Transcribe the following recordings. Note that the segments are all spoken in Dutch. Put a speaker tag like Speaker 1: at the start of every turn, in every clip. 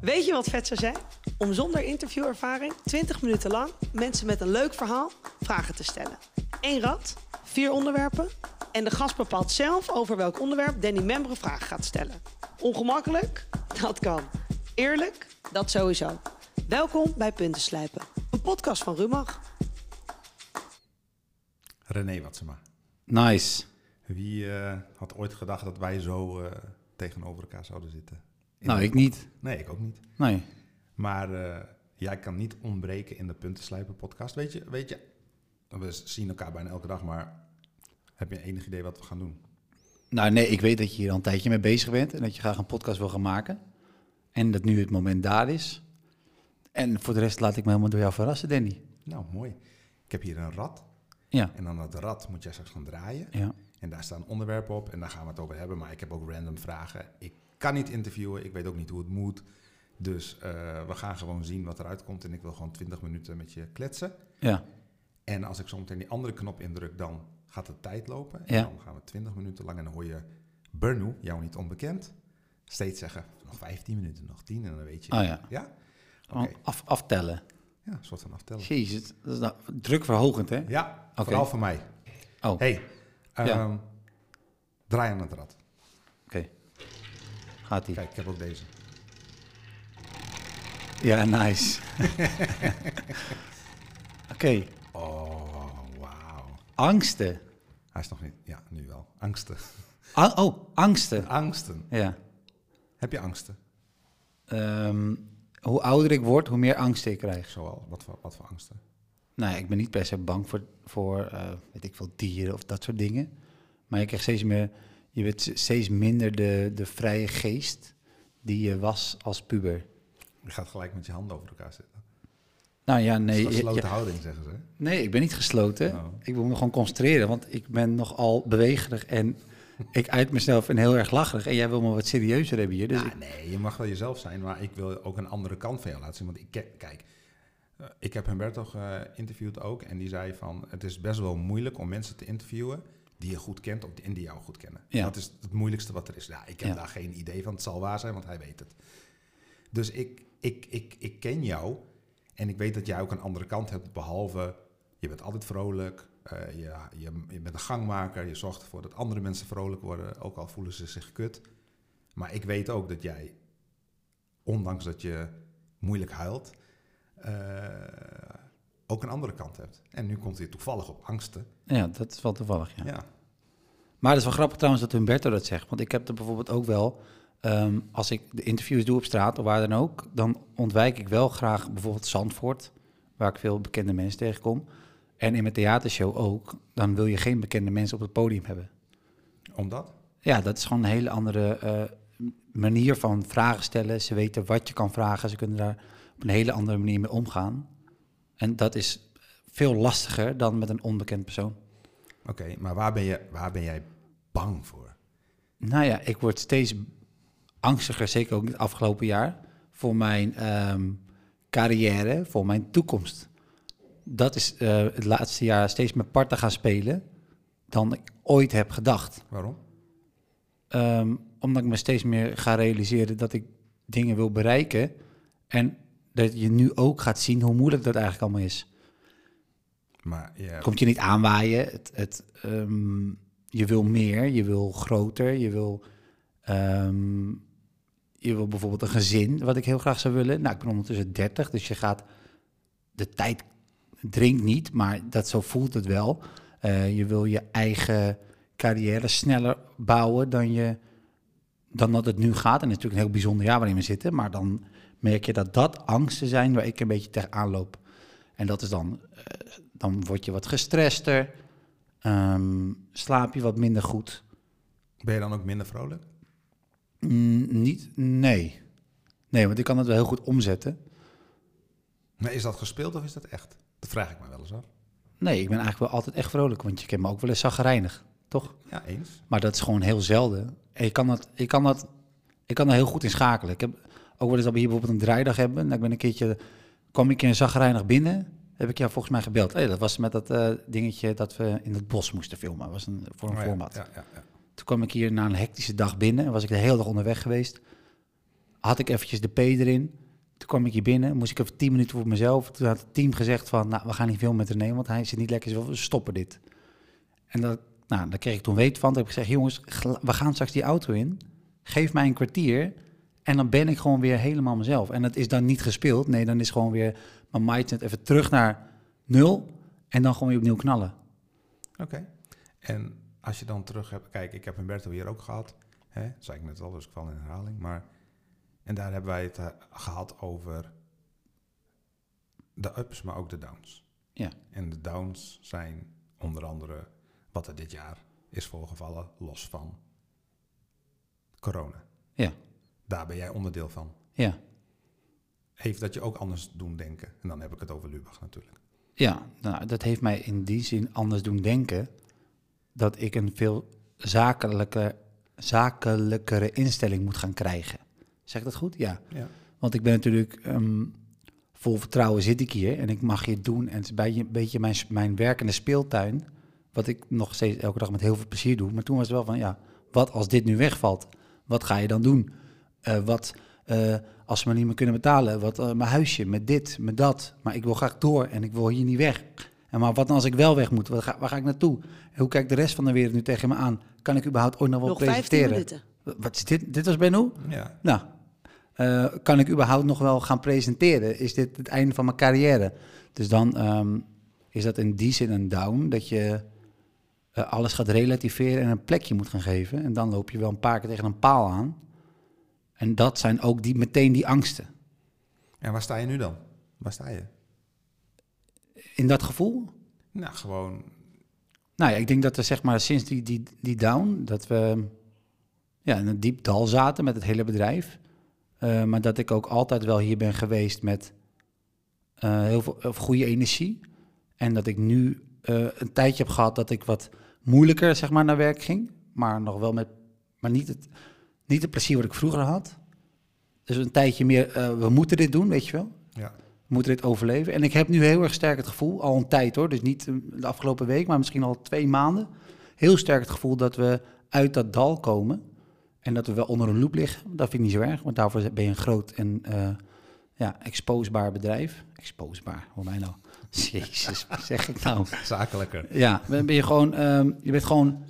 Speaker 1: Weet je wat vet zou zijn? Om zonder interviewervaring 20 minuten lang mensen met een leuk verhaal vragen te stellen. Eén rad, vier onderwerpen. En de gast bepaalt zelf over welk onderwerp Danny Membre vragen gaat stellen. Ongemakkelijk? Dat kan. Eerlijk? Dat sowieso. Welkom bij Punten Slijpen, een podcast van Rumach.
Speaker 2: René Watsema.
Speaker 3: Nice.
Speaker 2: Wie eh, had ooit gedacht dat wij zo eh, tegenover elkaar zouden zitten? In
Speaker 3: Nou,
Speaker 2: de-
Speaker 3: ik niet.
Speaker 2: Nee, ik ook niet.
Speaker 3: Nee.
Speaker 2: Maar eh, jij kan niet ontbreken in de Puntenslijpen podcast. Weet je, weet je, we zien elkaar bijna elke dag, maar heb je enig idee wat we gaan doen?
Speaker 3: Nou, nee, ik weet dat je hier al een tijdje mee bezig bent en dat je graag een podcast wil gaan maken. En dat nu het moment daar is. En voor de rest laat ik me helemaal door jou verrassen, Danny.
Speaker 2: Nou, mooi. Ik heb hier een rad
Speaker 3: Ja.
Speaker 2: en aan dat rad moet jij straks gaan draaien.
Speaker 3: Ja.
Speaker 2: En daar staan onderwerpen op en daar gaan we het over hebben. Maar ik heb ook random vragen. Ik kan niet interviewen, ik weet ook niet hoe het moet. Dus eh, we gaan gewoon zien wat eruit komt. En ik wil gewoon 20 minuten met je kletsen.
Speaker 3: Ja.
Speaker 2: En als ik zometeen die andere knop indruk, dan gaat de tijd lopen. En
Speaker 3: Ja.
Speaker 2: dan gaan we 20 minuten lang en dan hoor je Bernu, jou niet onbekend, steeds zeggen, nog 15 minuten, nog 10 en dan weet je.
Speaker 3: Ah, ja.
Speaker 2: Ja? Oké.
Speaker 3: Gewoon Af, aftellen.
Speaker 2: Ja, een soort van aftellen.
Speaker 3: Jezus, dat is nou drukverhogend, hè?
Speaker 2: Ja,
Speaker 3: Oké.
Speaker 2: vooral voor mij.
Speaker 3: Oh, oké.
Speaker 2: hey, ehm,
Speaker 3: Ja.
Speaker 2: draai aan het rad.
Speaker 3: Gaat-ie.
Speaker 2: Kijk, ik heb ook deze.
Speaker 3: Ja, nice. oké,
Speaker 2: Oh, wauw.
Speaker 3: angsten.
Speaker 2: Hij is nog niet, ja, nu wel. Angsten.
Speaker 3: A- oh, angsten.
Speaker 2: Angsten.
Speaker 3: Ja.
Speaker 2: Heb je angsten?
Speaker 3: Ehm, hoe ouder ik word, hoe meer angsten ik krijg.
Speaker 2: Zoal, wat voor, wat voor angsten?
Speaker 3: Nou, ja, ik ben niet per se bang voor, voor eh, weet ik veel, dieren of dat soort dingen. Maar je krijgt steeds meer, je bent s- steeds minder de, de vrije geest die je was als puber.
Speaker 2: Je gaat gelijk met je handen over elkaar zitten.
Speaker 3: Nou ja, nee,
Speaker 2: Nee,
Speaker 3: je-
Speaker 2: Gesloten
Speaker 3: je-
Speaker 2: houding, zeggen ze. hè?
Speaker 3: nee ik ben niet gesloten.
Speaker 2: Oh.
Speaker 3: Ik wil me gewoon concentreren, want ik ben nogal bewegerig en ik uit mezelf en heel erg lacherig. En jij wil me wat serieuzer hebben hier. Dus
Speaker 2: Ja,
Speaker 3: ik-
Speaker 2: nee, je mag wel jezelf zijn, maar ik wil ook een andere kant van jou laten zien. Want ik ke- kijk, eh, ik heb Humberto geïnterviewd ook en die zei van... het is best wel moeilijk om mensen te interviewen die je goed kent of die- en die jou goed kennen.
Speaker 3: Ja.
Speaker 2: Dat is het moeilijkste wat er is. Ja, ik heb
Speaker 3: Ja.
Speaker 2: daar geen idee van, het zal waar zijn, want hij weet het. Dus ik, ik, ik, ik ken jou en ik weet dat jij ook een andere kant hebt, behalve... je bent altijd vrolijk, eh, je, je, je bent een gangmaker, je zorgt ervoor dat andere mensen vrolijk worden... ook al voelen ze zich kut... Maar ik weet ook dat jij, ondanks dat je moeilijk huilt, eh, ook een andere kant hebt. En nu komt hij toevallig op angsten.
Speaker 3: ja, dat is wel toevallig, ja.
Speaker 2: Ja,
Speaker 3: Maar het is wel grappig trouwens dat Humberto dat zegt. Want ik heb er bijvoorbeeld ook wel... ehm, als ik de interviews doe op straat of waar dan ook... dan ontwijk ik wel graag bijvoorbeeld Zandvoort... waar ik veel bekende mensen tegenkom. En in mijn theatershow ook. Dan wil je geen bekende mensen op het podium hebben.
Speaker 2: omdat?
Speaker 3: Ja, dat is gewoon een hele andere eh, manier van vragen stellen. Ze weten wat je kan vragen. Ze kunnen daar op een hele andere manier mee omgaan. En dat is veel lastiger dan met een onbekend persoon.
Speaker 2: Oké, maar waar ben, je, waar ben jij bang voor?
Speaker 3: Nou ja, ik word steeds angstiger, zeker ook het afgelopen jaar, voor mijn ehm, carrière, voor mijn toekomst. Dat is eh, het laatste jaar steeds meer parten gaan spelen dan ik ooit heb gedacht.
Speaker 2: Waarom?
Speaker 3: Ehm, omdat ik me steeds meer ga realiseren dat ik dingen wil bereiken. En dat je nu ook gaat zien hoe moeilijk dat eigenlijk allemaal is.
Speaker 2: Maar je,
Speaker 3: Het komt je niet aanwaaien. Het, het, ehm, je wil meer, je wil groter, je wil, ehm, je wil bijvoorbeeld een gezin, wat ik heel graag zou willen. Nou, ik ben ondertussen 30, dus je gaat de tijd dringt niet, maar dat zo voelt het wel. Eh, je wil je eigen carrière sneller bouwen dan je dan dat het nu gaat. En het is natuurlijk een heel bijzonder jaar waarin we zitten, maar dan merk je dat dat angsten zijn waar ik een beetje tegenaan loop. En dat is dan dan word je wat gestrester, ehm, slaap je wat minder goed.
Speaker 2: ben je dan ook minder vrolijk?
Speaker 3: Mm, niet, nee. Nee, want ik kan het wel heel goed omzetten.
Speaker 2: Maar is dat gespeeld of is dat echt? Dat vraag ik me wel eens af.
Speaker 3: Nee, ik ben eigenlijk wel altijd echt vrolijk, want je kent me ook wel eens zagrijnig, toch?
Speaker 2: Ja, eens.
Speaker 3: Maar dat is gewoon heel zelden. En je kan dat, ik kan dat, ik kan er heel goed in schakelen. Ik heb ook wel eens dat we hier bijvoorbeeld een draaidag hebben. Nou, ik ben een keertje, kwam ik een keer zagrijnig binnen, heb ik jou volgens mij gebeld. Hey, dat was met dat eh, dingetje dat we in het bos moesten filmen. Dat was een, voor een
Speaker 2: Oh ja,
Speaker 3: format.
Speaker 2: Ja, ja, ja.
Speaker 3: Toen kwam ik hier na een hectische dag binnen en was ik de hele dag onderweg geweest. had ik eventjes de P erin. Toen kwam ik hier binnen, moest ik even 10 minuten voor mezelf. Toen had het team gezegd van, nou, we gaan niet veel met René, want hij zit niet lekker, we stoppen dit. En dat, nou, daar kreeg ik toen weet van. Toen heb ik gezegd, jongens, gel- we gaan straks die auto in. Geef mij een kwartier en dan ben ik gewoon weer helemaal mezelf. En dat is dan niet gespeeld. Nee, dan is gewoon weer mijn mindset even terug naar nul en dan gewoon weer opnieuw knallen.
Speaker 2: Oké. En als je dan terug hebt, kijk, ik heb Humberto hier ook gehad. Hè? Dat zei ik net al, dus ik val in herhaling. Maar, en daar hebben wij het eh, gehad over de ups, maar ook de downs.
Speaker 3: Ja.
Speaker 2: En de downs zijn onder andere wat er dit jaar is voorgevallen, los van corona.
Speaker 3: Ja.
Speaker 2: Daar ben jij onderdeel van.
Speaker 3: Ja,
Speaker 2: Heeft dat je ook anders doen denken. En dan heb ik het over Lubach natuurlijk.
Speaker 3: ja nou, dat heeft mij in die zin anders doen denken dat ik een veel zakelijke, zakelijkere instelling moet gaan krijgen. Zeg ik dat goed? Ja.
Speaker 2: Ja.
Speaker 3: Want ik ben natuurlijk ehm, vol vertrouwen zit ik hier en ik mag hier doen. En het is bij je- een beetje mijn, s- mijn werkende speeltuin, wat ik nog steeds elke dag met heel veel plezier doe. Maar toen was het wel van, ja, wat als dit nu wegvalt? Wat ga je dan doen? Eh, wat eh, als ze me niet meer kunnen betalen? Wat eh, mijn huisje, met dit, met dat. Maar ik wil graag door en ik wil hier niet weg. En maar wat dan als ik wel weg moet? Waar ga, waar ga ik naartoe? En hoe kijkt de rest van de wereld nu tegen me aan? Kan ik überhaupt ooit nog wel
Speaker 1: Nog 15
Speaker 3: presenteren?
Speaker 1: minuten.
Speaker 3: Wat is dit? Dit was Benno?
Speaker 2: ja.
Speaker 3: Nou, eh, kan ik überhaupt nog wel gaan presenteren? Is dit het einde van mijn carrière? Dus dan ehm, is dat in die zin een down, dat je eh, alles gaat relativeren en een plekje moet gaan geven. En dan loop je wel een paar keer tegen een paal aan. En dat zijn ook die, meteen die angsten.
Speaker 2: En waar sta je nu dan? Waar sta je?
Speaker 3: In dat gevoel?
Speaker 2: Nou, gewoon
Speaker 3: Nou ja, ik denk dat er zeg maar sinds die, die, die down, dat we ja, in een diep dal zaten met het hele bedrijf. Eh, maar dat ik ook altijd wel hier ben geweest met eh, heel veel of goede energie. En dat ik nu eh, een tijdje heb gehad dat ik wat moeilijker zeg maar, naar werk ging. Maar nog wel met, maar niet het, niet het plezier wat ik vroeger had. Dus een tijdje meer, eh, we moeten dit doen, weet je wel
Speaker 2: Ja,
Speaker 3: moet dit overleven. En ik heb nu heel erg sterk het gevoel, al een tijd hoor, dus niet eh, de afgelopen week, maar misschien al twee maanden, heel sterk het gevoel dat we uit dat dal komen en dat we wel onder een loep liggen. Dat vind ik niet zo erg, want daarvoor ben je een groot en eh ja, exposbaar bedrijf. Exposbaar, hoor mij nou. Jezus, wat zeg ik nou?
Speaker 2: zakelijker.
Speaker 3: Ja, dan ben je, gewoon, ehm, je, bent gewoon,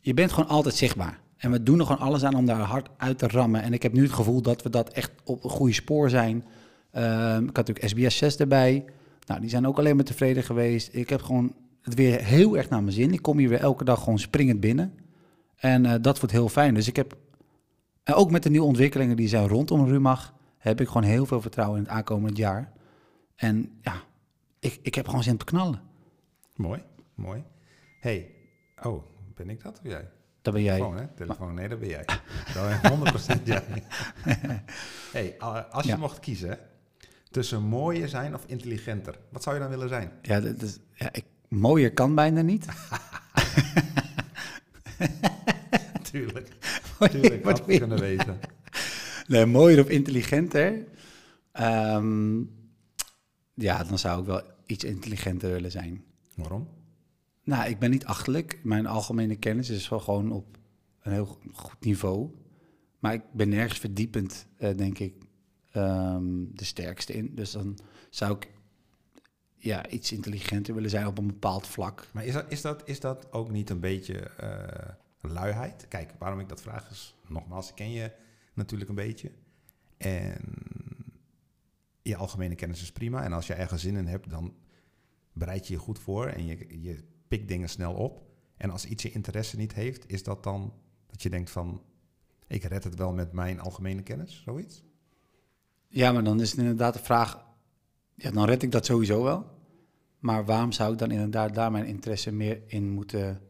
Speaker 3: je bent gewoon altijd zichtbaar. En we doen er gewoon alles aan om daar hard uit te rammen. En ik heb nu het gevoel dat we dat echt op een goede spoor zijn. Ehm, ik had natuurlijk SBS 6 erbij. Nou, die zijn ook alleen maar tevreden geweest. Ik heb gewoon het weer heel erg naar mijn zin. Ik kom hier weer elke dag gewoon springend binnen. En eh, dat wordt heel fijn. Dus ik heb, en ook met de nieuwe ontwikkelingen die zijn rondom Rumach, heb ik gewoon heel veel vertrouwen in het aankomend jaar. En ja, ik, ik heb gewoon zin te knallen.
Speaker 2: Mooi, mooi. hey, oh, ben ik dat of jij?
Speaker 3: Dat ben jij.
Speaker 2: Telefoon, hè? Telefoon, nee, dat ben jij.
Speaker 3: Ah.
Speaker 2: Dat ben 100% jij. hey, a- als je
Speaker 3: Ja.
Speaker 2: mocht kiezen hè, tussen mooier zijn of intelligenter, wat zou je dan willen zijn?
Speaker 3: Ja, dat is, ja ik, mooier kan bijna niet.
Speaker 2: Tuurlijk, tuurlijk, had
Speaker 3: Wat
Speaker 2: het
Speaker 3: wil je?
Speaker 2: kunnen weten.
Speaker 3: Nee, mooier of intelligenter. Ehm, ja, dan zou ik wel iets intelligenter willen zijn.
Speaker 2: Waarom?
Speaker 3: Nou, ik ben niet achterlijk. Mijn algemene kennis is wel gewoon op een heel goed niveau. Maar ik ben nergens verdiepend, eh, denk ik, ehm, de sterkste in. Dus dan zou ik ja, iets intelligenter willen zijn op een bepaald vlak.
Speaker 2: Maar is dat, is dat, is dat ook niet een beetje eh, luiheid? Kijk, waarom ik dat vraag is, nogmaals, ik ken je natuurlijk een beetje. En je algemene kennis is prima. En als je ergens zin in hebt, dan bereid je je goed voor en je, je pikt dingen snel op. En als iets je interesse niet heeft, is dat dan dat je denkt van, ik red het wel met mijn algemene kennis, zoiets?
Speaker 3: Ja, maar dan is het inderdaad de vraag... Ja, dan red ik dat sowieso wel. Maar waarom zou ik dan inderdaad daar mijn interesse meer in moeten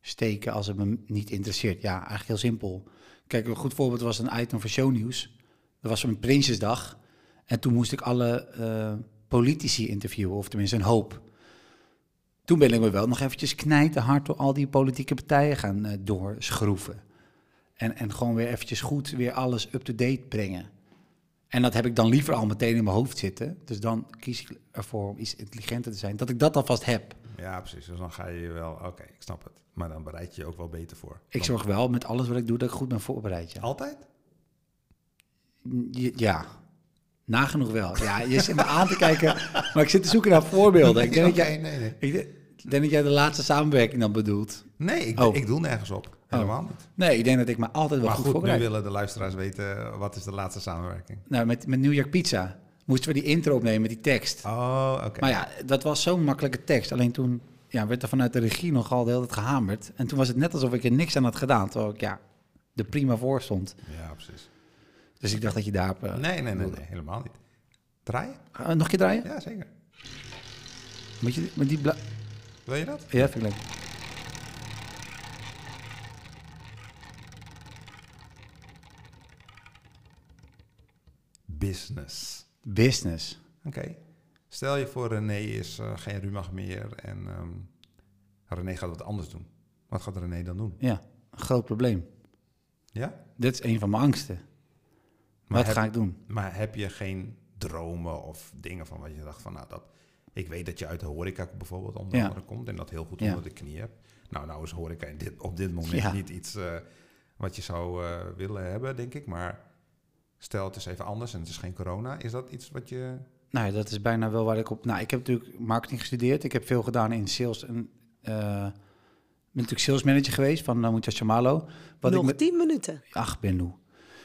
Speaker 3: steken als het me niet interesseert? Ja, eigenlijk heel simpel. Kijk, een goed voorbeeld was een item voor shownieuws. Dat was een Prinsjesdag. En toen moest ik alle eh, politici interviewen, of tenminste een hoop. Toen ben ik me wel nog eventjes knijten hard door al die politieke partijen gaan eh, doorschroeven. En, en gewoon weer eventjes goed weer alles up-to-date brengen. En dat heb ik dan liever al meteen in mijn hoofd zitten. Dus dan kies ik ervoor om iets intelligenter te zijn. Dat ik dat alvast heb.
Speaker 2: Ja, precies. Dus dan ga je wel, oké, ik snap het. Maar dan bereid je je ook wel beter voor.
Speaker 3: Ik
Speaker 2: Dan-
Speaker 3: zorg wel met alles wat ik doe dat ik goed ben voorbereid. Ja,
Speaker 2: Altijd?
Speaker 3: je- ja, nagenoeg wel. Ja, je zit me aan te kijken, maar ik zit te zoeken naar voorbeelden. Ik denk, dat, jij,
Speaker 2: Nee, nee, nee.
Speaker 3: ik de- denk dat jij de laatste samenwerking dan bedoelt.
Speaker 2: Nee, ik,
Speaker 3: Oh.
Speaker 2: ik doe nergens op. Helemaal niet.
Speaker 3: Nee, ik denk dat ik me altijd wel
Speaker 2: Maar
Speaker 3: goed,
Speaker 2: goed, nu
Speaker 3: voorbereid.
Speaker 2: willen de luisteraars weten eh, wat is de laatste samenwerking.
Speaker 3: Nou, met, met New York Pizza moesten we die intro opnemen met die tekst.
Speaker 2: Oh, oké.
Speaker 3: Maar ja, dat was zo'n makkelijke tekst. Alleen toen ja, werd er vanuit de regie nogal de hele tijd gehamerd. En toen was het net alsof ik er niks aan had gedaan, terwijl ik ja, er prima voor stond.
Speaker 2: Ja, precies.
Speaker 3: Dus ik dacht dat je daarop... eh,
Speaker 2: Nee, nee, nee, nee, helemaal niet. Draaien?
Speaker 3: eh, nog een keer draaien?
Speaker 2: Ja, zeker.
Speaker 3: Moet je met die... bla-
Speaker 2: Wil je dat?
Speaker 3: Ja, vind ik leuk.
Speaker 2: Business.
Speaker 3: Business.
Speaker 2: Oké. Stel je voor René is eh, geen rumach meer en ehm, René gaat wat anders doen. Wat gaat René dan doen?
Speaker 3: Ja, een groot probleem.
Speaker 2: Ja?
Speaker 3: Dit is een van mijn angsten. Wat
Speaker 2: heb-
Speaker 3: ga ik doen?
Speaker 2: Maar heb je geen dromen of dingen van wat je dacht van, nou dat... Ik weet dat je uit de horeca bijvoorbeeld onder
Speaker 3: Ja.
Speaker 2: andere komt en dat heel goed
Speaker 3: Ja.
Speaker 2: onder de knie hebt. Nou, nou is horeca in dit, op dit moment
Speaker 3: Ja.
Speaker 2: niet iets eh, wat je zou eh, willen hebben, denk ik. Maar stel het is even anders en het is geen corona. Is dat iets wat je...
Speaker 3: Nou, ja, dat is bijna wel waar ik op... Nou, ik heb natuurlijk marketing gestudeerd. Ik heb veel gedaan in sales. En, eh, ben natuurlijk sales manager geweest van uh, Mucha Chamalo. Wat
Speaker 1: Nog
Speaker 3: ik met,
Speaker 1: 10 minuten.
Speaker 3: Ach, Benno.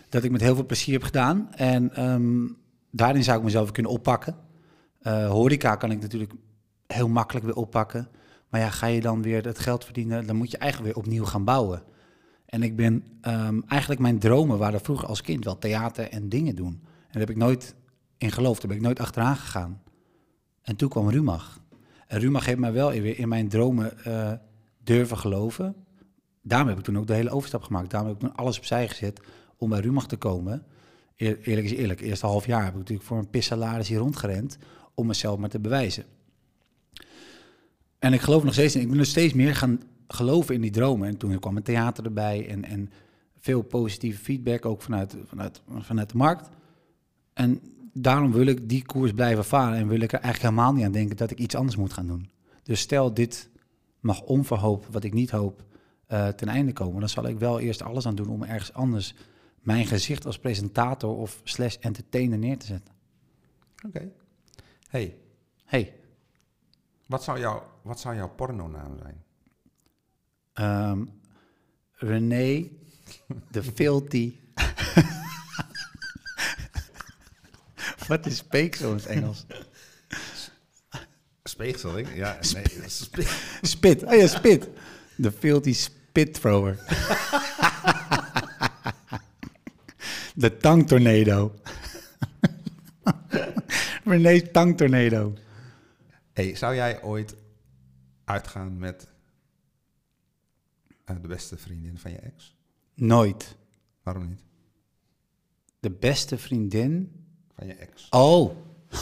Speaker 3: Dat ik met heel veel plezier heb gedaan. En ehm, daarin zou ik mezelf kunnen oppakken. Eh, horeca kan ik natuurlijk heel makkelijk weer oppakken. Maar ja, ga je dan weer dat geld verdienen, dan moet je eigenlijk weer opnieuw gaan bouwen. En ik ben ehm, eigenlijk mijn dromen waren vroeger als kind wel theater en dingen doen. En daar heb ik nooit in geloofd, daar ben ik nooit achteraan gegaan. En toen kwam Rumach. En Rumach heeft mij wel weer in mijn dromen eh, durven geloven daarom heb ik toen ook de hele overstap gemaakt. Daarom heb ik toen alles opzij gezet om bij Rumach te komen. Eer- eerlijk is eerlijk, eerste half jaar heb ik natuurlijk voor een pissalaris hier rondgerend om mezelf maar te bewijzen. En ik geloof nog steeds in, ik ben nog steeds meer gaan geloven in die dromen. En toen kwam het theater erbij en, en veel positieve feedback ook vanuit, vanuit, vanuit de markt. En daarom wil ik die koers blijven varen en wil ik er eigenlijk helemaal niet aan denken dat ik iets anders moet gaan doen. Dus stel dit mag onverhoopt, wat ik niet hoop, eh, ten einde komen, dan zal ik wel eerst alles aan doen om ergens anders mijn gezicht als presentator of slash entertainer neer te zetten.
Speaker 2: Oké. hey,
Speaker 3: Hey,
Speaker 2: wat zou, jouw, wat zou jouw pornonaam zijn?
Speaker 3: ehm, René, de filthy. wat is speeksel in het Engels?
Speaker 2: Speegsel, ik? Ja, nee. spe-
Speaker 3: Spit, oh ja, spit. De filthy spit thrower. De tangtornado. René tangtornado.
Speaker 2: hey, zou jij ooit uitgaan met eh, de beste vriendin van je ex?
Speaker 3: Nooit.
Speaker 2: Waarom niet?
Speaker 3: De beste vriendin.
Speaker 2: Van je ex.
Speaker 3: Oh,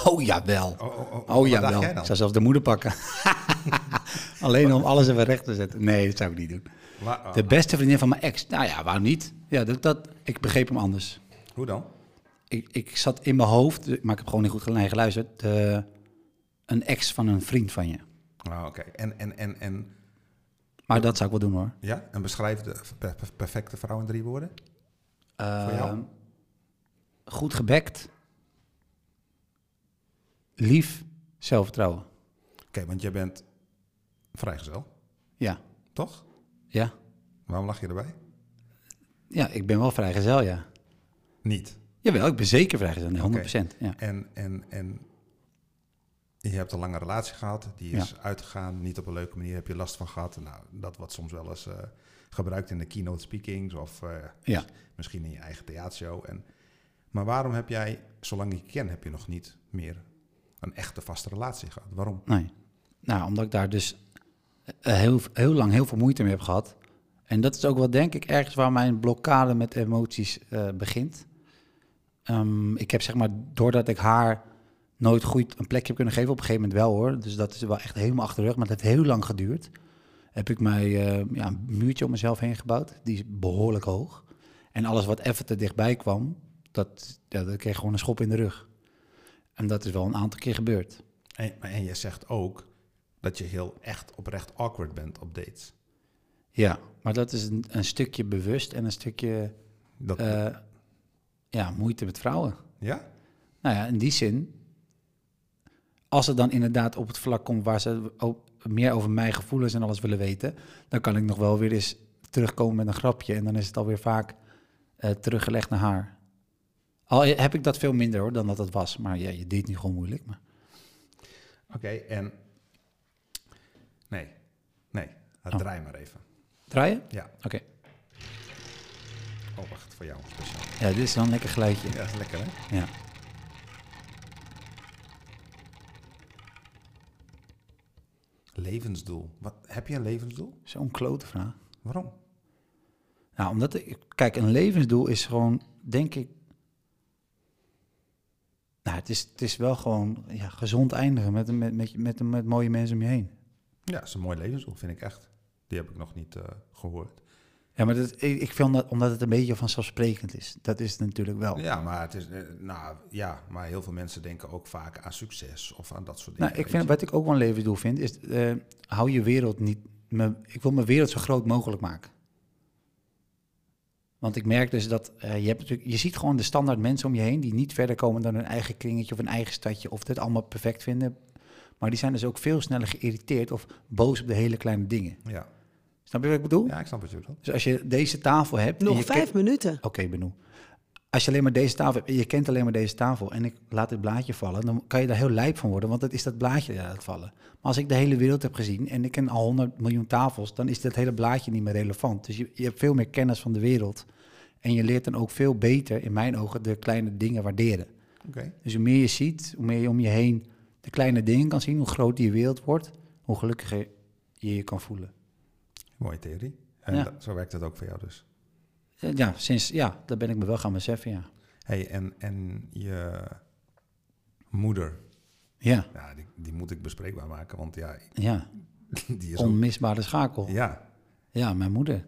Speaker 3: oh jawel.
Speaker 2: Oh, oh, oh.
Speaker 3: Oh
Speaker 2: Wat
Speaker 3: jawel.
Speaker 2: dacht jij
Speaker 3: Ik
Speaker 2: dan?
Speaker 3: zou zelfs de moeder pakken. Alleen om alles even recht te zetten. Nee, dat zou ik niet doen.
Speaker 2: Wa-
Speaker 3: De beste vriendin van mijn ex. Nou ja, waarom niet? Ja, dat, dat, ik begreep hem anders.
Speaker 2: Hoe dan?
Speaker 3: Ik, ik zat in mijn hoofd, maar ik heb gewoon niet goed gelu- geluisterd. de- een ex van een vriend van je.
Speaker 2: Ah, oké. En, en, en, en,
Speaker 3: Maar dat zou ik wel doen hoor.
Speaker 2: ja? en beschrijf de per- per- perfecte vrouw in drie woorden.
Speaker 3: Eh,
Speaker 2: jou?
Speaker 3: goed gebekt. Lief. Zelfvertrouwen.
Speaker 2: Oké, want jij bent vrijgezel,
Speaker 3: Ja.
Speaker 2: toch?
Speaker 3: Ja.
Speaker 2: Waarom lach je erbij?
Speaker 3: Ja, ik ben wel vrijgezel, ja.
Speaker 2: Niet.
Speaker 3: Jawel, ik ben zeker vrijgezel, nee, 100%. Ja.
Speaker 2: En, en, en je hebt een lange relatie gehad, die is uitgegaan, niet op een leuke manier, heb je last van gehad. Nou, dat wordt soms wel eens eh, gebruikt in de keynote speakings of eh,
Speaker 3: Ja.
Speaker 2: misschien in je eigen theatershow. En, maar waarom heb jij, zolang ik je ken, heb je nog niet meer een echte vaste relatie gehad? Waarom?
Speaker 3: Nee. Nou, omdat ik daar dus eh, heel, heel lang heel veel moeite mee heb gehad. En dat is ook wel, denk ik, ergens waar mijn blokkade met emoties eh, begint. Ehm, ik heb zeg maar, doordat ik haar nooit goed een plekje heb kunnen geven, op een gegeven moment wel hoor. Dus dat is wel echt helemaal achter de rug, maar dat heeft heel lang geduurd. Heb ik mij eh, ja, een muurtje om mezelf heen gebouwd. Die is behoorlijk hoog. En alles wat even te dichtbij kwam, dat, ja, dat kreeg gewoon een schop in de rug. En dat is wel een aantal keer gebeurd.
Speaker 2: En, maar- en je zegt ook dat je heel echt oprecht awkward bent op dates.
Speaker 3: Ja, maar dat is een, een stukje bewust en een stukje
Speaker 2: Dat,
Speaker 3: eh, ja, moeite met vrouwen.
Speaker 2: Ja?
Speaker 3: Nou ja, in die zin, als het dan inderdaad op het vlak komt waar ze ook meer over mijn gevoelens en alles willen weten, dan kan ik nog wel weer eens terugkomen met een grapje. En dan is het alweer vaak eh, teruggelegd naar haar. Al heb ik dat veel minder hoor dan dat het was. Maar ja, je deed nu gewoon moeilijk. Maar
Speaker 2: Oké, en... Nee. Nee.
Speaker 3: Oh.
Speaker 2: Draai maar even.
Speaker 3: draaien?
Speaker 2: Ja.
Speaker 3: Oké.
Speaker 2: Oh, wacht. Voor jou een speciaal.
Speaker 3: Ja, dit is wel een lekker geluidje.
Speaker 2: Ja, dat is lekker, hè?
Speaker 3: Ja.
Speaker 2: Levensdoel. Wat, heb je een levensdoel?
Speaker 3: Zo'n klote vraag.
Speaker 2: Waarom?
Speaker 3: Nou, omdat ik, kijk, een levensdoel is gewoon, denk ik. Nou, het is, het is wel gewoon ja, gezond eindigen met, met, met, met, met mooie mensen om je heen.
Speaker 2: Ja, dat is een mooi levensdoel, vind ik echt. Die heb ik nog niet eh, gehoord.
Speaker 3: Ja, maar dat, ik, ik vind dat omdat het een beetje vanzelfsprekend is. Dat is het natuurlijk wel.
Speaker 2: Ja, maar het is, eh, nou ja, maar heel veel mensen denken ook vaak aan succes of aan dat soort dingen.
Speaker 3: nou, ik
Speaker 2: weet
Speaker 3: vind,
Speaker 2: je.
Speaker 3: wat ik ook wel een levensdoel vind, is eh, hou je wereld niet. me- ik wil mijn wereld zo groot mogelijk maken. Want ik merk dus dat eh, je, hebt natuurlijk, je ziet gewoon de standaard mensen om je heen die niet verder komen dan hun eigen kringetje of hun eigen stadje of dit allemaal perfect vinden. Maar die zijn dus ook veel sneller geïrriteerd of boos op de hele kleine dingen.
Speaker 2: Ja.
Speaker 3: Snap je wat ik bedoel?
Speaker 2: ja, ik snap wat je bedoelt.
Speaker 3: Dus als je deze tafel hebt. en
Speaker 1: Nog
Speaker 3: je
Speaker 1: vijf minuten.
Speaker 3: Oké, Benoe. Als je alleen maar deze tafel hebt en je kent alleen maar deze tafel en ik laat dit blaadje vallen, dan kan je daar heel lijp van worden, want dat is dat blaadje dat laat vallen. Maar als ik de hele wereld heb gezien en ik ken al 100 miljoen tafels, dan is dat hele blaadje niet meer relevant. Dus je, je hebt veel meer kennis van de wereld en je leert dan ook veel beter, in mijn ogen, de kleine dingen waarderen.
Speaker 2: Oké.
Speaker 3: Dus hoe meer je ziet, hoe meer je om je heen de kleine dingen kan zien, hoe groter je wereld wordt, hoe gelukkiger je je kan voelen.
Speaker 2: Mooie theorie. En
Speaker 3: Ja.
Speaker 2: da- zo werkt dat ook voor jou dus.
Speaker 3: Eh, Ja, sinds, ja, daar ben ik me wel gaan beseffen, ja.
Speaker 2: hey, en, en je moeder,
Speaker 3: Ja,
Speaker 2: ja, die, die moet ik bespreekbaar maken, want ja,
Speaker 3: ja.
Speaker 2: die is ook...
Speaker 3: Onmisbare schakel.
Speaker 2: Ja,
Speaker 3: Ja, mijn moeder.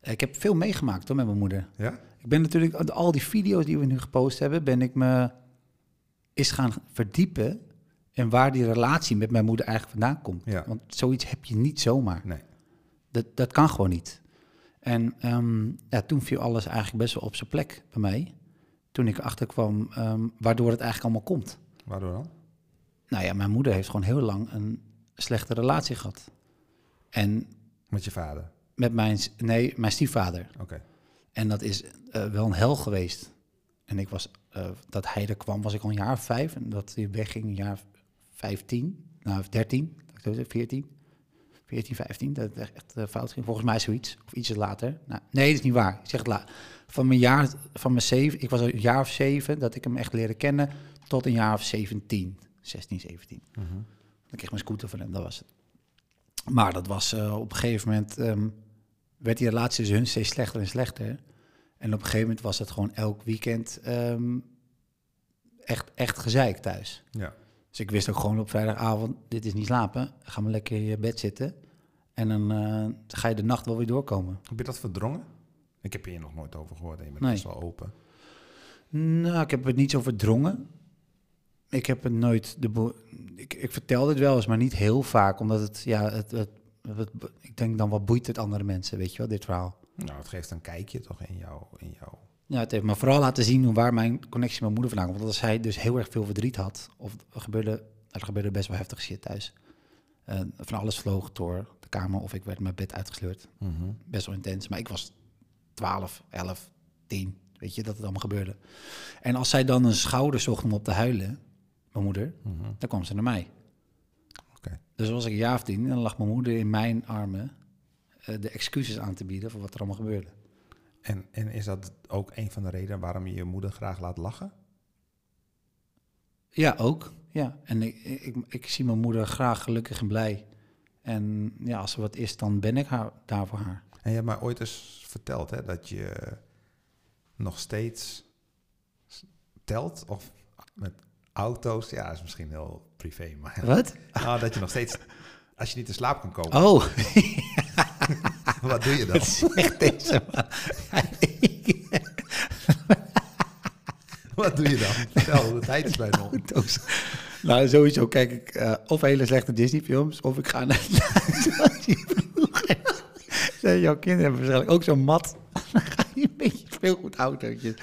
Speaker 3: Ik heb veel meegemaakt hoor, met mijn moeder.
Speaker 2: ja?
Speaker 3: Ik ben natuurlijk, al die video's die we nu gepost hebben, ben ik me is gaan verdiepen in waar die relatie met mijn moeder eigenlijk vandaan komt.
Speaker 2: Ja.
Speaker 3: Want zoiets heb je niet zomaar.
Speaker 2: Nee.
Speaker 3: Dat, dat kan gewoon niet. En ehm, ja, toen viel alles eigenlijk best wel op zijn plek bij mij. Toen ik erachter kwam ehm, waardoor het eigenlijk allemaal komt.
Speaker 2: Waardoor dan?
Speaker 3: Nou ja, mijn moeder heeft gewoon heel lang een slechte relatie gehad. En
Speaker 2: Met je vader.
Speaker 3: met mijn, s- nee, mijn stiefvader.
Speaker 2: Oké.
Speaker 3: En dat is eh, wel een hel geweest. En ik was, eh, dat hij er kwam, was ik al een jaar of vijf. En dat hij wegging een jaar of vijftien, nou of dertien, laat ik zo zeggen, veertien. 14, 15, dat het echt eh, fout ging. Volgens mij zoiets. Of iets later. Nou, nee, dat is niet waar. Ik zeg het laat. Van mijn jaar, van mijn zeven, ik was een jaar of zeven dat ik hem echt leerde kennen. Tot een jaar of 17, 16, 17.
Speaker 2: Mhm.
Speaker 3: Dan kreeg ik mijn scooter van hem, dat was het. Maar dat was eh, op een gegeven moment... ehm, werd die relatie tussen hun steeds slechter en slechter. En op een gegeven moment was het gewoon elk weekend ehm, echt, echt gezeik thuis.
Speaker 2: Ja.
Speaker 3: Dus ik wist ook gewoon op vrijdagavond, dit is niet slapen. Ga maar lekker in je bed zitten. En dan eh, ga je de nacht wel weer doorkomen.
Speaker 2: Heb je dat verdrongen? Ik heb hier nog nooit over gehoord en je bent
Speaker 3: Nee.
Speaker 2: best wel open.
Speaker 3: Nou, ik heb het niet zo verdrongen. Ik heb het nooit... De boel- ik, ik vertelde het wel eens, maar niet heel vaak. Omdat het, ja, het, het, het- ik denk dan, wat boeit het andere mensen, weet je wel, dit verhaal.
Speaker 2: Nou, het geeft een kijkje toch in jou. In jou.
Speaker 3: Ja, het heeft me vooral laten zien hoe waar mijn connectie met mijn moeder vandaan komt. Want als hij dus heel erg veel verdriet had, of er gebeurde, er gebeurde best wel heftig shit thuis. Eh, van alles vloog door de kamer of ik werd mijn bed uitgesleurd.
Speaker 2: Mhm.
Speaker 3: Best wel intens, maar ik was 12, 11, 10, weet je, dat het allemaal gebeurde. En als zij dan een schouder zocht om op te huilen, mijn moeder,
Speaker 2: Mhm.
Speaker 3: dan kwam ze naar mij.
Speaker 2: Oké.
Speaker 3: Dus was ik een jaar of tien en dan lag mijn moeder in mijn armen eh, de excuses aan te bieden voor wat er allemaal gebeurde.
Speaker 2: En, en is dat ook een van de redenen waarom je je moeder graag laat lachen?
Speaker 3: Ja, ook. Ja. En ik, ik, ik zie mijn moeder graag gelukkig en blij. En ja, als er wat is, dan ben ik haar, daar voor haar.
Speaker 2: En je hebt mij ooit eens verteld hè, dat je nog steeds s- telt of met auto's. Ja, is misschien heel privé, maar
Speaker 3: Wat?
Speaker 2: nou, dat je nog steeds, als je niet in slaap kan komen,
Speaker 3: Oh,
Speaker 2: wat doe je dan?
Speaker 3: echt deze man.
Speaker 2: Wat doe je dan? Vertel, de tijd is bijna om.
Speaker 3: Doos. Nou, sowieso kijk ik eh, of hele slechte Disney-films, of ik ga naar Nee, Jouw kinderen hebben waarschijnlijk ook zo'n mat. Dan ga je een beetje veel goed autootjes.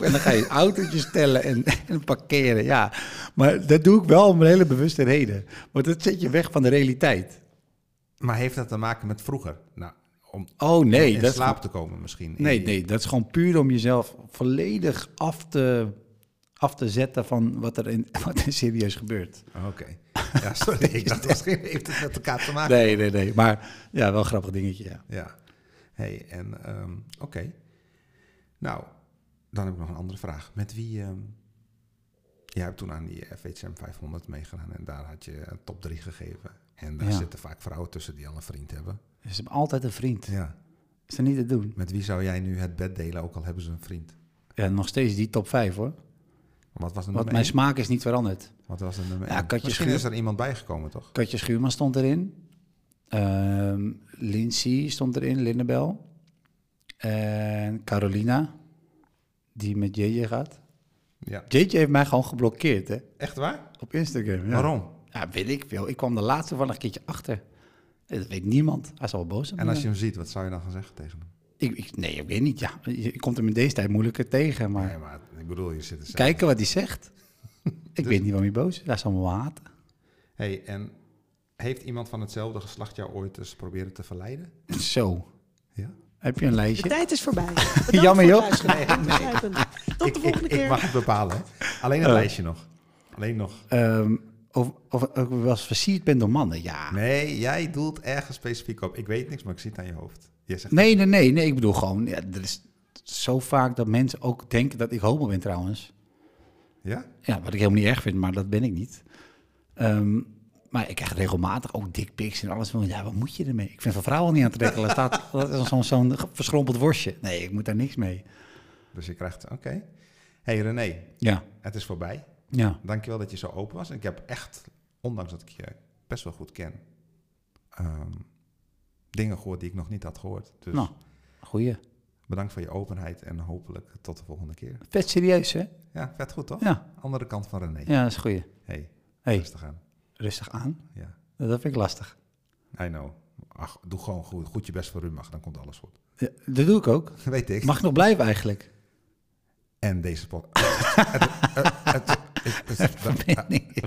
Speaker 3: En dan ga je autootjes stellen en, en parkeren. Ja, maar dat doe ik wel om een hele bewuste reden. Want dat zet je weg van de realiteit.
Speaker 2: Maar heeft dat te maken met vroeger? Nou, om
Speaker 3: Oh nee,
Speaker 2: in
Speaker 3: dat,
Speaker 2: slaap te komen misschien.
Speaker 3: nee, nee, dat is gewoon puur om jezelf volledig af te, af te zetten van wat er, in, wat er serieus gebeurt.
Speaker 2: Oh, Oké. Ja, sorry. ik dacht misschien heeft het met elkaar te maken.
Speaker 3: Nee, nee, nee. Maar ja, wel een grappig dingetje. Ja.
Speaker 2: Ja. hey, en ehm, oké. Nou, dan heb ik nog een andere vraag. Met wie... ehm, jij hebt toen aan die FHM 500 meegedaan en daar had je een top 3 gegeven. En daar
Speaker 3: Ja.
Speaker 2: zitten vaak vrouwen tussen die al een vriend hebben.
Speaker 3: Ze hebben altijd een vriend.
Speaker 2: Ja.
Speaker 3: Is dat niet te doen?
Speaker 2: Met wie zou jij nu het bed delen, ook al hebben ze een vriend?
Speaker 3: Ja, nog steeds die top 5 hoor.
Speaker 2: Wat was de
Speaker 3: Want
Speaker 2: nummer
Speaker 3: mijn
Speaker 2: één?
Speaker 3: smaak is niet veranderd.
Speaker 2: Wat was de nummer
Speaker 3: Ja,
Speaker 2: één?
Speaker 3: Katje
Speaker 2: Misschien
Speaker 3: Schuur.
Speaker 2: is er iemand bijgekomen, toch?
Speaker 3: Katje Schuurman stond erin. Ehm Lindsay stond erin, Linnebel. En Carolina, die met JJ gaat.
Speaker 2: Ja.
Speaker 3: JJ heeft mij gewoon geblokkeerd hè,
Speaker 2: Echt waar?
Speaker 3: op Instagram. Ja.
Speaker 2: Waarom?
Speaker 3: Ja, weet ik veel. Ik kwam de laatste toevallig een keertje achter. Eh, Dat weet niemand. Hij zal wel boos zijn.
Speaker 2: En als je hem ziet, wat zou je dan gaan zeggen tegen hem?
Speaker 3: ik, ik- nee, ik weet niet. Ja, je je komt hem in deze tijd moeilijker tegen. Maar
Speaker 2: Nee, maar ik bedoel, je zit er zelf.
Speaker 3: kijken wat hij zegt. ik weet niet waarom hij boos is. Hij zal me wel haten.
Speaker 2: hey, en heeft iemand van hetzelfde geslacht jou ooit eens proberen te verleiden?
Speaker 3: Zo.
Speaker 2: Ja.
Speaker 3: Heb je een
Speaker 1: De
Speaker 3: lijstje?
Speaker 1: tijd is voorbij. Bedankt
Speaker 3: Jammer,
Speaker 1: voor het
Speaker 3: joh.
Speaker 1: luisteren. Ingrijpend. Tot
Speaker 2: Ik,
Speaker 1: de
Speaker 2: ik,
Speaker 1: volgende
Speaker 2: ik
Speaker 1: keer.
Speaker 2: mag het bepalen. hè. Alleen een
Speaker 3: Oh.
Speaker 2: lijstje nog. Alleen nog.
Speaker 3: Ehm, of, of ik wel eens versierd ben door mannen. Ja.
Speaker 2: Nee, jij doelt ergens specifiek op. Ik weet niks, maar ik zie het aan je hoofd. Je zegt,
Speaker 3: Nee, nee, nee. nee ik bedoel gewoon. Ja, er is zo vaak dat mensen ook denken dat ik homo ben trouwens.
Speaker 2: ja?
Speaker 3: Ja, wat ik helemaal niet erg vind, maar dat ben ik niet. Ehm, maar ik krijg regelmatig ook dickpics en alles. Van, ja, wat moet je ermee? Ik vind van vrouwen niet aantrekkelijk. Dat staat- Dat is zo'n zo'n verschrompeld worstje. Nee, ik moet daar niks mee.
Speaker 2: Dus je krijgt, oké. hey René,
Speaker 3: Ja,
Speaker 2: het is voorbij.
Speaker 3: ja.
Speaker 2: Dankjewel dat je zo open was. Ik heb echt, ondanks dat ik je best wel goed ken, ehm, dingen gehoord die ik nog niet had gehoord. Dus
Speaker 3: Nou, goeie.
Speaker 2: bedankt voor je openheid en hopelijk tot de volgende keer.
Speaker 3: Vet serieus, hè?
Speaker 2: Ja, vet goed toch?
Speaker 3: Ja,
Speaker 2: Andere kant van René.
Speaker 3: ja dat is goeie.
Speaker 2: Hey,
Speaker 3: hey,
Speaker 2: rustig aan.
Speaker 3: rustig aan.
Speaker 2: Ja,
Speaker 3: Dat vind ik lastig.
Speaker 2: I know. Ach, doe gewoon goed, goed je best voor Rumach, dan komt alles goed.
Speaker 3: Ja, dat doe ik ook.
Speaker 2: Weet ik.
Speaker 3: Mag ik nog blijven eigenlijk?
Speaker 2: En deze podcast. Het- het- het- het- het- het-
Speaker 3: Nee, nee.